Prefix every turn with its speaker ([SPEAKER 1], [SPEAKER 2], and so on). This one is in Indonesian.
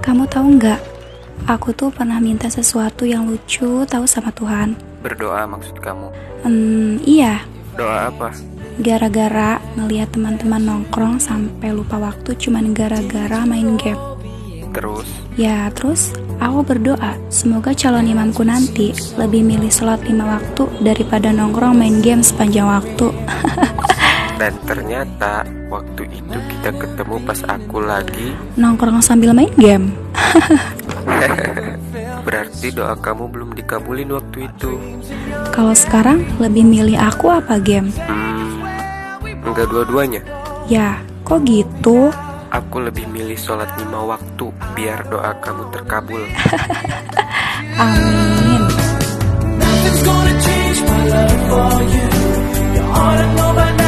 [SPEAKER 1] Kamu tahu nggak? Aku tuh pernah minta sesuatu yang lucu tahu sama Tuhan.
[SPEAKER 2] Berdoa maksud kamu?
[SPEAKER 1] Hmm, iya.
[SPEAKER 2] Doa apa?
[SPEAKER 1] Gara-gara ngelihat teman-teman nongkrong sampai lupa waktu cuman gara-gara main game.
[SPEAKER 2] Terus,
[SPEAKER 1] Ya, terus aku berdoa semoga calon imamku nanti lebih milih sholat lima waktu daripada nongkrong main game sepanjang waktu.
[SPEAKER 2] dan ternyata waktu itu kita ketemu pas aku lagi.
[SPEAKER 1] nongkrong sambil main game.
[SPEAKER 2] Berarti doa kamu belum dikabulin waktu itu.
[SPEAKER 1] Kalau sekarang lebih milih aku apa game?
[SPEAKER 2] Hmm, enggak dua-duanya.
[SPEAKER 1] Ya, kok gitu?
[SPEAKER 2] Aku lebih milih sholat lima waktu biar doa kamu terkabul.
[SPEAKER 1] Amin.
[SPEAKER 3] Nothing's gonna change my love for you. You ought to know by now.